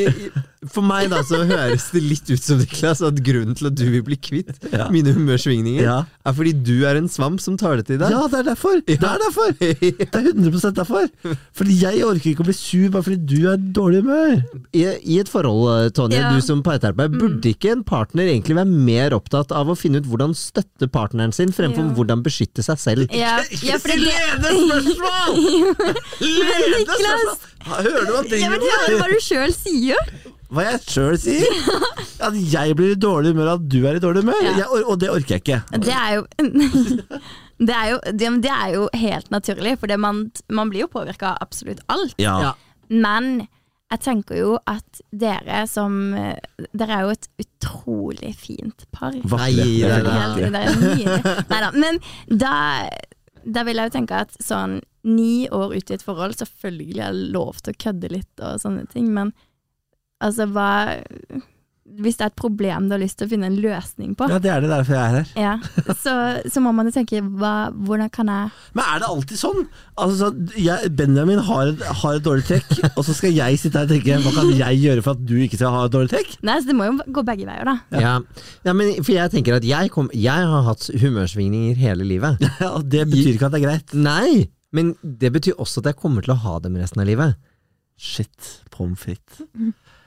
C: For meg da så høres det litt ut som Niklas at grunnen til at du vil bli kvitt
B: Ja.
C: mine humørsvingninger,
B: Ja.
C: er fordi du er en svamp som tar det til deg.
B: ja, det er derfor. Det er derfor. Det er 100 derfor. Fordi jeg orker ikke å bli sur bare fordi du er i dårlig humør.
C: I, I et forhold, eh, Tonje,
A: Ja. Mm.
C: du som parterapeut, burde ikke en partner egentlig være mer opptatt av å finne ut hvordan støtte partneren sin, fremfor
A: Ja.
C: hvordan beskytte seg selv?
A: Ja, ja, for det,
B: spørsmål! Ledende
A: Niklas!
B: Hører du hva
A: ja, men hør hva du sjøl sier!
B: Hva jeg sjøl sier? At jeg blir i dårlig humør av at du er i dårlig humør?
A: Ja.
B: Jeg, or- og det orker jeg ikke.
A: Det er jo Det er jo, det, det er jo helt naturlig, for det man, man blir jo påvirka av absolutt alt.
B: Ja.
C: Ja.
A: Men jeg tenker jo at dere som Dere er jo et utrolig fint par.
C: Nei,
B: Vakre.
C: det er det.
A: Helt- Dere er nydelige. Neida, Men da, da vil jeg jo tenke at sånn ni år ute i et forhold, selvfølgelig er det lov til å kødde litt og sånne ting, men altså hva Hvis det er et problem du har lyst til å finne en løsning på,
B: Ja, det er det derfor jeg er her.
A: ja, så, så må man jo tenke hva, hvordan kan jeg
B: Men er det alltid sånn? Altså, sånn, jeg, Benjamin har et, har et dårlig trekk, og så skal jeg sitte her og tenke hva kan jeg gjøre for at du ikke skal ha et dårlig trekk?
A: Nei, så det må jo gå begge veier, da.
C: Ja. ja, men for jeg tenker at jeg, kom, jeg har hatt humørsvingninger hele livet.
B: Ja, og det betyr ikke at det er greit.
C: Nei, men det betyr også at jeg kommer til å ha dem resten av livet.
B: Shit, pommes frites.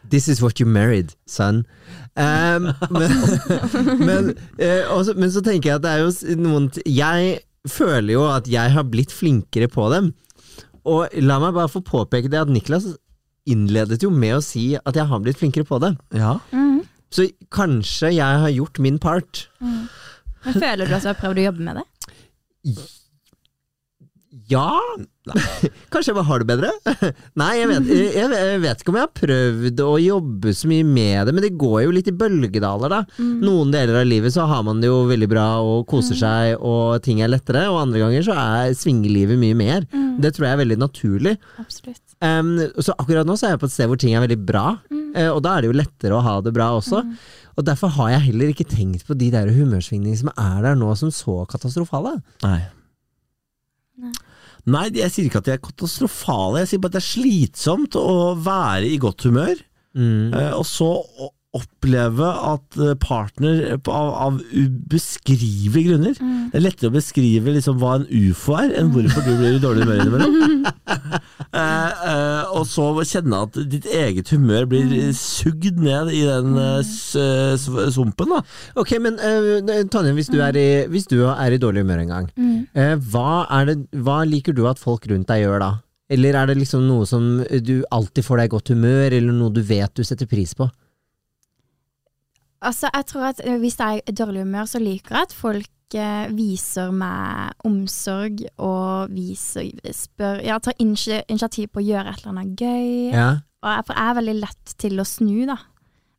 C: This is what you married, son. Um, men, men, eh, også, men så tenker jeg at det er jo s- noen t- Jeg føler jo at jeg har blitt flinkere på dem. Og la meg bare få påpeke det at Niklas innledet jo med å si at jeg har blitt flinkere på det.
B: Ja.
A: Mm,
C: Så kanskje jeg har gjort min part.
A: Men Føler du at du har prøvd å jobbe med det?
C: Ja Kanskje jeg bare har det bedre? Nei, jeg vet, jeg, jeg vet ikke om jeg har prøvd å jobbe så mye med det, men det går jo litt i bølgedaler, da.
A: Mm.
C: Noen deler av livet så har man det jo veldig bra og koser seg, og ting er lettere, og andre ganger så er, svinger livet mye mer. Det tror jeg er veldig naturlig.
A: Mm, Absolutt.
C: Um, så akkurat nå så er jeg på et sted hvor ting er veldig bra, eh, og da er det jo lettere å ha det bra også. Og derfor har jeg heller ikke tenkt på de der humørsvingningene som er der nå, som så katastrofale.
B: Nei.
A: Nei.
B: Nei, jeg sier ikke at de er katastrofale, jeg sier bare at det er slitsomt å være i godt humør.
C: Mm.
B: Eh, Og så å- oppleve at eh, partner på- av, av ubeskrivelige grunner
A: Mm,
B: Det er lettere å beskrive liksom hva en ufo er, enn hvorfor du blir i dårlig humør innimellom. Eh, eh, og så kjenne at ditt eget humør blir eh, sugd ned i den eh, s- eh, sv- svumpen. da
C: Ok, men eh, Tanja, hvis du, er i, hvis du er i dårlig humør en gang,
A: mm.
C: eh, hva, er det, hva liker du at folk rundt deg gjør da? Eller er det liksom noe som du alltid får deg i godt humør, eller noe du vet du setter pris på?
A: Altså, jeg tror at eh, hvis jeg er i dårlig humør, så liker jeg at folk eh, viser meg omsorg og viser, spør Ja, tar initi- initiativ på å gjøre et eller annet gøy.
C: Ja.
A: Og jeg, for jeg er veldig lett til å snu, da.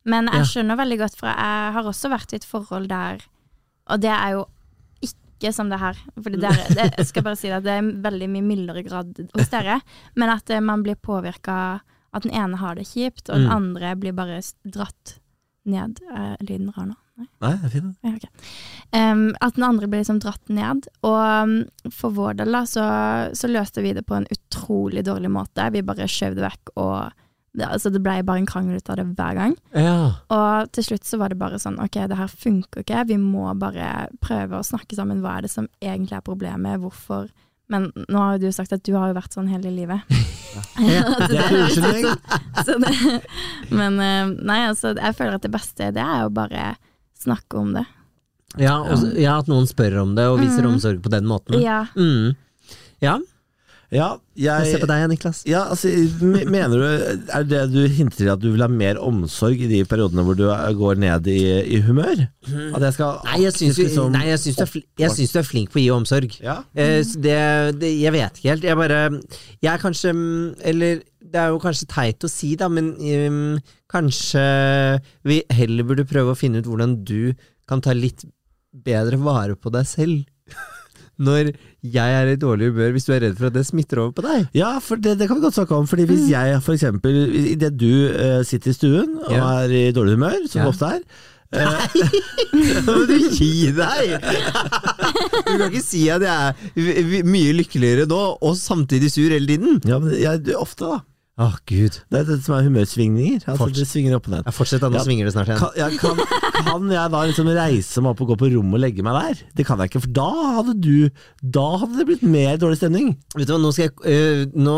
A: Men
C: Ja.
A: jeg skjønner veldig godt, for jeg har også vært i et forhold der Og det er jo ikke som det her. For det der, det, jeg skal bare si det, det er veldig mye mildere grad hos dere. Men at eh, man blir påvirka At den ene har det kjipt, og den
C: Mm.
A: andre blir bare s- dratt ned. Er lyden rar nå? Nei?
B: Nei, det er fint.
A: Ja, ok. Em, at den andre ble liksom dratt ned. Og um, for vår del da, så, så løste vi det på en utrolig dårlig måte. Vi bare skjøv det vekk, og det, altså, det ble bare en krangel ut av det hver gang. Og til slutt så var det bare sånn Ok, det her funker ikke. Vi må bare prøve å snakke sammen. Hva er det som egentlig er problemet? Hvorfor Men nå har jo du sagt at du har jo vært sånn hele livet.
B: Det er en unnskyldning.
A: Så det, men eh, nei, altså, jeg føler at det beste det er jo bare snakke om det.
C: Ja, og, ja, at noen spør om det og viser omsorg på den måten.
A: Ja.
C: Mm. Ja,
B: Ja,
C: jeg ser
B: jeg
C: på deg, Niklas.
B: ja, altså, me- mener du Er det du hinter til at du vil ha mer omsorg i de periodene hvor du er- går ned i, i humør? At jeg skal
C: Mhm. Nei, jeg syns,
B: aktivt
C: jo-
B: liksom-
C: nei, jeg syns, du, er fl jeg syns du er flink på å gi omsorg.
B: Ja.
C: Eh, så det, det, jeg vet ikke helt. Jeg bare Jeg er kanskje mm, Eller det er jo kanskje teit å si, da, men mm, kanskje vi heller burde prøve å finne ut hvordan du kan ta litt bedre vare på deg selv. Når jeg er i dårlig humør, hvis du er redd for at det smitter over på deg.
B: Ja, for det, det kan vi godt snakke om. Fordi hvis jeg for eksempel, idet du eh, sitter i stuen og
C: Ja.
B: er i dårlig humør, som
C: Ja.
B: det ofte er
C: Nå må du gi deg! Du kan ikke si at jeg er v- v- mye lykkeligere nå, og samtidig sur hele tiden.
B: Ja, men jeg, du- ofte, da.
C: Å, gud.
B: Det er det som er humørsvingninger. Altså,
C: Forts-
B: det svinger opp og ned.
C: Ja, fortsett, da. Nå
B: Ja.
C: svinger det snart igjen.
B: Kan, ja, kan, kan jeg da liksom reise meg opp og gå på rommet og legge meg der? Det kan jeg ikke, for da hadde du Da hadde det blitt mer dårlig stemning.
C: Vet du hva, nå skal jeg øh, nå,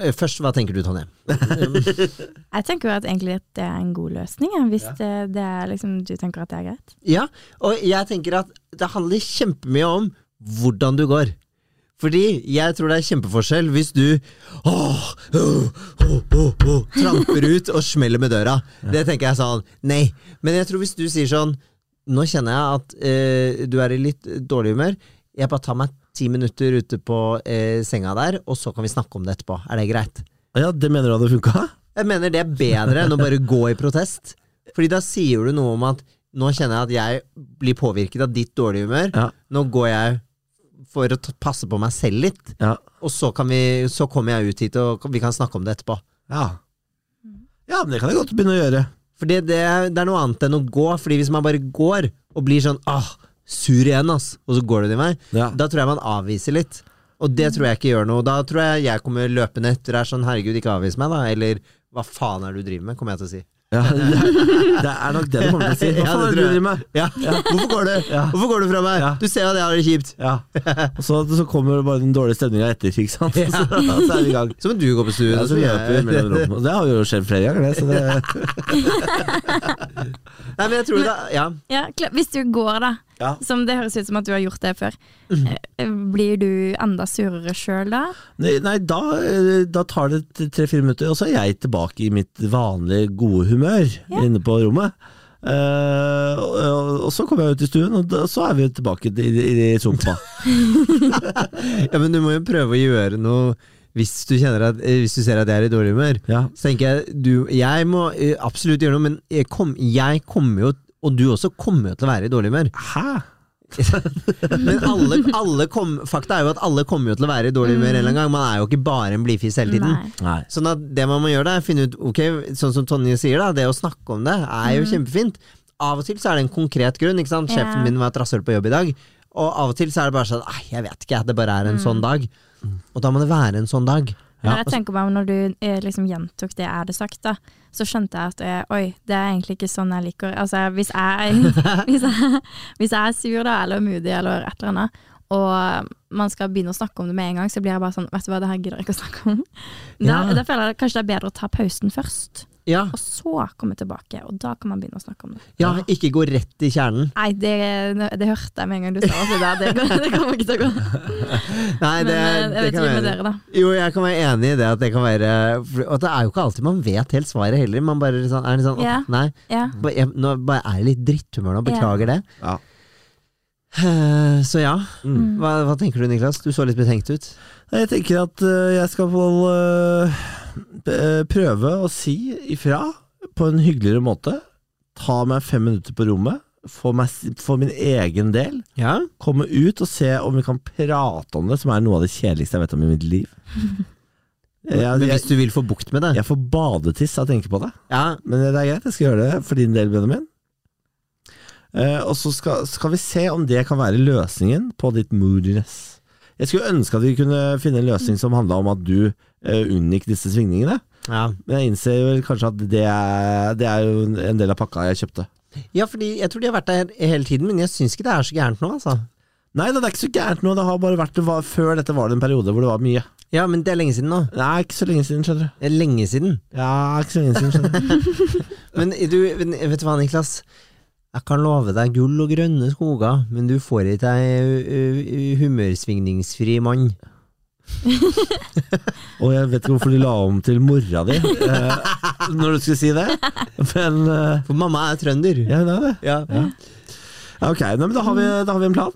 C: øh, Først, hva tenker du, Tonje?
A: Jeg tenker jo at egentlig at det er en god løsning, ja, hvis det, det er liksom, du tenker at det er greit.
C: Ja, og jeg tenker at det handler kjempemye om hvordan du går. Fordi jeg tror det er kjempeforskjell hvis du åh, åh, åh, åh, åh, tramper ut og smeller med døra. Det tenker jeg sånn, nei. Men jeg tror hvis du sier sånn Nå kjenner jeg at eh, du er i litt dårlig humør. Jeg bare tar meg ti minutter ute på eh, senga der, og så kan vi snakke om det etterpå. Er det greit?
B: Ja, Det mener du hadde funka?
C: Jeg mener det er bedre enn å bare gå i protest. Fordi da sier du noe om at nå kjenner jeg at jeg blir påvirket av ditt dårlige humør.
B: Ja.
C: Nå går jeg for å ta- passe på meg selv litt,
B: Ja.
C: og så, kan vi, så kommer jeg ut hit, og vi kan snakke om det etterpå.
B: ja. Ja, men det kan jeg godt begynne å gjøre.
C: For det, det, er- det er noe annet enn å gå, Fordi hvis man bare går og blir sånn ah, sur igjen, ass, og så går det din vei,
B: Ja.
C: da tror jeg man avviser litt. Og det tror jeg ikke gjør noe. Da tror jeg jeg kommer løpende etter og er sånn herregud, ikke avvis meg, da. Eller hva faen er det du driver med, kommer jeg til å si.
B: Ja, det, det er nok det du kommer til å si. Hva
C: Ja,
B: faen
C: det
B: er det
C: tror jeg.
B: du driver med?
C: Ja. Hvorfor går du?
B: Ja.
C: Hvorfor går du fra meg?
B: Ja.
C: Du ser jo at jeg har det kjipt.
B: Ja. Og så, så kommer det bare den dårlige stemninga etter, ikke sant.
C: Ja.
B: Så, så er vi i gang.
C: Så må du gå på stuen.
B: Ja,
C: og
B: så
C: så
B: løper vi
C: gjør jeg-
B: mellom rommene. Og Det har jo skjedd flere ganger, det. Så det
C: Nei, men jeg tror det, ja.
A: Ja, kla- Hvis du går, da,
B: Ja.
A: som det høres ut som at du har gjort det før, eh, blir du enda surere sjøl da?
B: Nei, nei da, eh, da tar det tre-fire minutter, og så er jeg tilbake i mitt vanlige gode humør
A: Ja.
B: inne på rommet. Eh, og, og- og så kommer jeg ut i stuen, og da, så er vi tilbake i, i, i sumpa.
C: ja, men du må jo prøve å gjøre noe hvis du, kjenner at, eh, hvis du ser at jeg er i dårlig humør.
B: Ja.
C: Så tenker jeg du, jeg må eh, absolutt gjøre noe, men jeg, kom, jeg kommer jo, og du også kommer jo til å være i dårlig humør.
B: Hæ?
C: Men alle, alle kom, fakta er jo at alle kommer jo til å være i dårlig humør en eller annen gang. Man er jo ikke bare en blidfis hele tiden.
A: Nei.
B: Nei.
C: Sånn at det man må gjøre da, er finne ut Ok, sånn som Tonje sier da, det å snakke om det er jo kjempefint. Av og til så er det en konkret grunn, ikke sant?
A: Mm. Ja.
C: Sjefen min var et rasshøl på jobb i dag. Og av og til så er det bare sånn, «Ai, jeg vet ikke, det bare er en sånn dag. Og da må det være en sånn dag.
A: Mm. Men jeg tenker bare Når du eh, liksom gjentok det jeg hadde sagt, da, så skjønte jeg at eh, oi, det er egentlig ikke sånn jeg liker Altså, hvis jeg, hvis jeg, hvis jeg er sur, da, eller moody, eller et eller annet, og man skal begynne å snakke om det med en gang, så blir jeg bare sånn Vet du hva, det her gidder jeg ikke å snakke om. Da,
C: Ja.
A: da føler jeg kanskje det er bedre å ta pausen først,
C: Ja,
A: og så komme tilbake. Og da kan man begynne å snakke om det.
C: ja ikke gå rett i kjernen.
A: Nei, det, det hørte jeg med en gang du sa Altså, det, så det, det, går- det kommer ikke til å gå.
C: Nei,
A: Men
C: det,
A: eh, jeg
C: det
A: vet
C: kan
A: ikke med
C: være.
A: dere, da.
C: Jo, jeg kan være enig i det at det kan være for- Og det er jo ikke alltid man vet helt svaret heller. Man bare sånn, er litt sånn, «Åh,
A: Ja.
C: nei,
A: Ja.
C: ba- jeg, nå bare er jeg i litt dritthumør nå,
A: Ja.
C: beklager det.
B: Ja.
C: Eh, Så ja.
B: Mm.
C: Hva, hva tenker du, Niklas? Du så litt betenkt ut.
B: Nei, Jeg tenker at eh, jeg skal vel eh, p- eh, prøve å si ifra på en hyggeligere måte. Ta meg fem minutter på rommet, få, meg, s- få min egen del.
C: Ja.
B: komme ut og se om vi kan prate om det, som er noe av det kjedeligste jeg vet om i mitt liv. Jeg,
C: Men
B: jeg,
C: hvis du vil få bukt med det
B: jeg får badetiss av å tenke på det,
C: ja.
B: men det er greit, jeg skal gjøre det for din del, Benjamin. Eh, og så skal, skal vi se om det kan være løsningen på ditt moodiness. Jeg skulle ønske at vi kunne finne en løsning som handla om at du eh, unngikk disse svingningene,
C: Ja.
B: men jeg innser vel kanskje at det er, det er jo en del av pakka jeg kjøpte.
C: ja, fordi jeg tror de har vært der hele tiden, men jeg syns ikke det er så gærent nå, altså.
B: Nei da, det er ikke så gærent nå. Det har bare vært, det var, før dette var det en periode hvor det var mye.
C: Ja, men det er lenge siden nå.
B: Nei, ikke så lenge siden, skjønner du.
C: Det er lenge siden.
B: Ja, ikke så lenge siden, skjønner du.
C: Men du, men vet du hva, Niklas? Jeg kan love deg gull og grønne skoger, men du får ikke ei humørsvingningsfri mann.
B: Og jeg vet ikke hvorfor de la om til mora di eh, når du skulle si det, men eh,
C: For mamma er trønder.
B: ja, hun er det.
C: Ja.
B: Ja, ok, Nei, men da har, vi, da har vi en plan.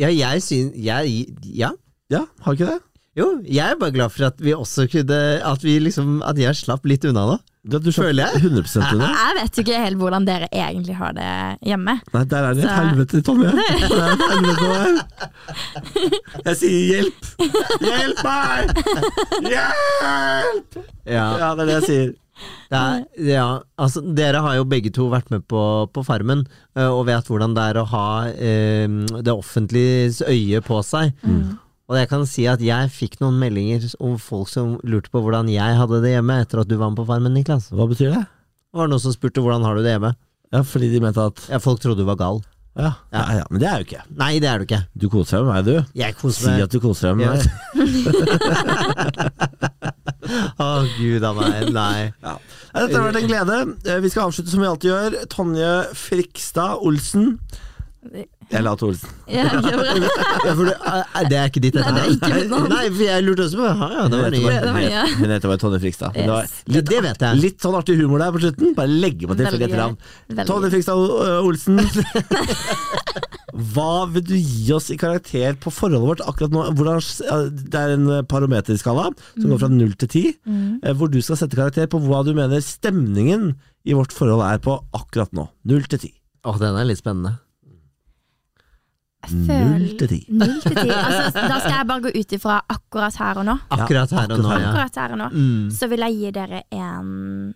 C: Ja, jeg syns jeg, Ja.
B: Ja, har vi ikke det?
C: Jo, jeg er bare glad for at vi også kunne At, vi liksom, at jeg slapp litt unna nå.
B: Du, du slapp
C: Føler
B: 100 unna.
A: Jeg vet jo ikke helt hvordan dere egentlig har det hjemme.
B: Nei, der er det et
A: Så-
B: helvete, Tommy. Det er et helvete der. Jeg sier hjelp! Hjelp meg! Hjelp!
C: Ja,
B: Ja, det er det jeg sier.
C: det er, ja altså, dere har jo begge to vært med på, på Farmen, eh, og vet hvordan det er å ha eh, det offentliges øye på seg. Og jeg kan si at jeg fikk noen meldinger om folk som lurte på hvordan jeg hadde det hjemme etter at du var med på Farmen, Niklas.
B: Hva betyr det?
C: Det var noen som spurte hvordan har du det hjemme.
B: Ja, fordi de mente at
C: Ja, folk trodde du var gal.
B: ja, ja, ja, men det er jo ikke
C: Nei, det er du ikke.
B: Du koser deg med meg, du.
C: Jeg
B: Si
C: koser meg.
B: at du koser deg med meg.
C: Å, gud a meg. Nei.
B: Ja. Nei, Dette har vært en glede. Eh, Vi skal avslutte som vi alltid gjør. Tonje Frikstad Olsen. Jeg la til Olsen.
A: Ja, det var bra.
C: Ja, for det, eh, det er ikke ditt
A: Nei, det er ikke mitt navn.
C: Nei, for jeg lurte også på ja, ja, det. Var
B: Hun
C: nye.
B: heter
A: det var
B: bare-
A: nye.
B: Hun heter bare Tonje Frikstad. Men det var
A: Yes.
C: Ja, det vet jeg.
B: Litt sånn artig humor der på slutten. Bare legge på til
A: Veldig
B: flere etternavn.
A: veldig.
B: Tonje Frikstad O- eh, Olsen. Hva vil du gi oss i karakter på forholdet vårt akkurat nå? Hvordan, eh, det er en parometerskala som går fra null til ti, eh, hvor du skal sette karakter på hva du mener stemningen i vårt forhold er på akkurat nå. Null til ti.
C: Å, den er litt spennende.
A: Jeg føler-
B: Null til ti.
A: Null til ti. Altså, da skal jeg bare gå ut ifra akkurat her og nå.
C: Akkurat her og nå, ja.
A: Akkurat her og nå.
C: Mm.
A: Så vil jeg gi dere en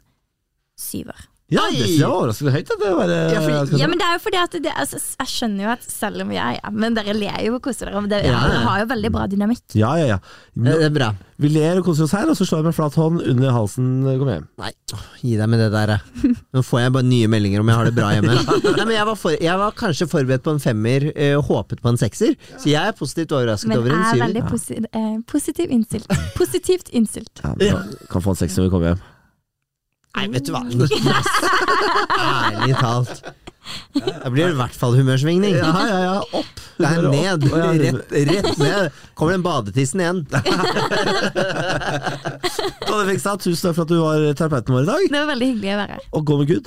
A: syver.
B: Ja,
C: Oi!
B: det synes jeg var overraskende høyt. at Det var, eh,
C: Ja, fordi-
B: skal-
A: Ja, men det er jo fordi at det, altså, Jeg skjønner jo at selv om jeg ja, Men dere ler jo og koser dere. Men det,
C: Ja, ja.
A: dere har jo veldig bra dynamikk.
B: ja, ja, ja.
C: Eh,
B: Nå,
C: Det er bra.
B: vi ler og koser oss her, og så slår jeg med flat hånd under halsen. eh, Kom hjem.
C: Nei, åh, gi deg med det der. eh. Nå får jeg bare nye meldinger om jeg har det bra hjemme. Nei, men jeg var, for, jeg var kanskje forberedt på en femmer, eh, håpet på en sekser, så jeg er positivt overrasket
A: Men
C: over en
A: jeg er
C: syver.
A: veldig posi eh, positiv innstilt. Positivt innstilt.
B: Ja, men da kan få en seks når vi kommer hjem.
C: Nei, vet du hva. Niklas. Ærlig talt. Da blir det i hvert fall humørsvingning.
B: Ja, ja, ja, opp!
C: Det er ned.
B: Å, ja, det-
C: Rett, rett ned. Kommer den badetissen igjen.
B: Tanja Fikstad, tusen takk for at du var terapeuten vår i dag,
A: Det var veldig hyggelig å være her.
B: og gå med Gud.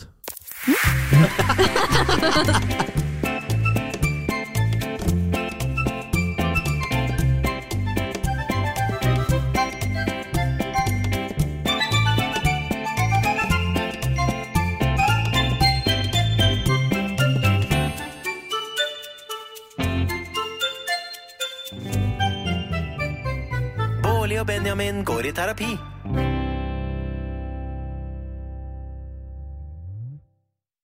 D: Bårli og Benjamin går i terapi.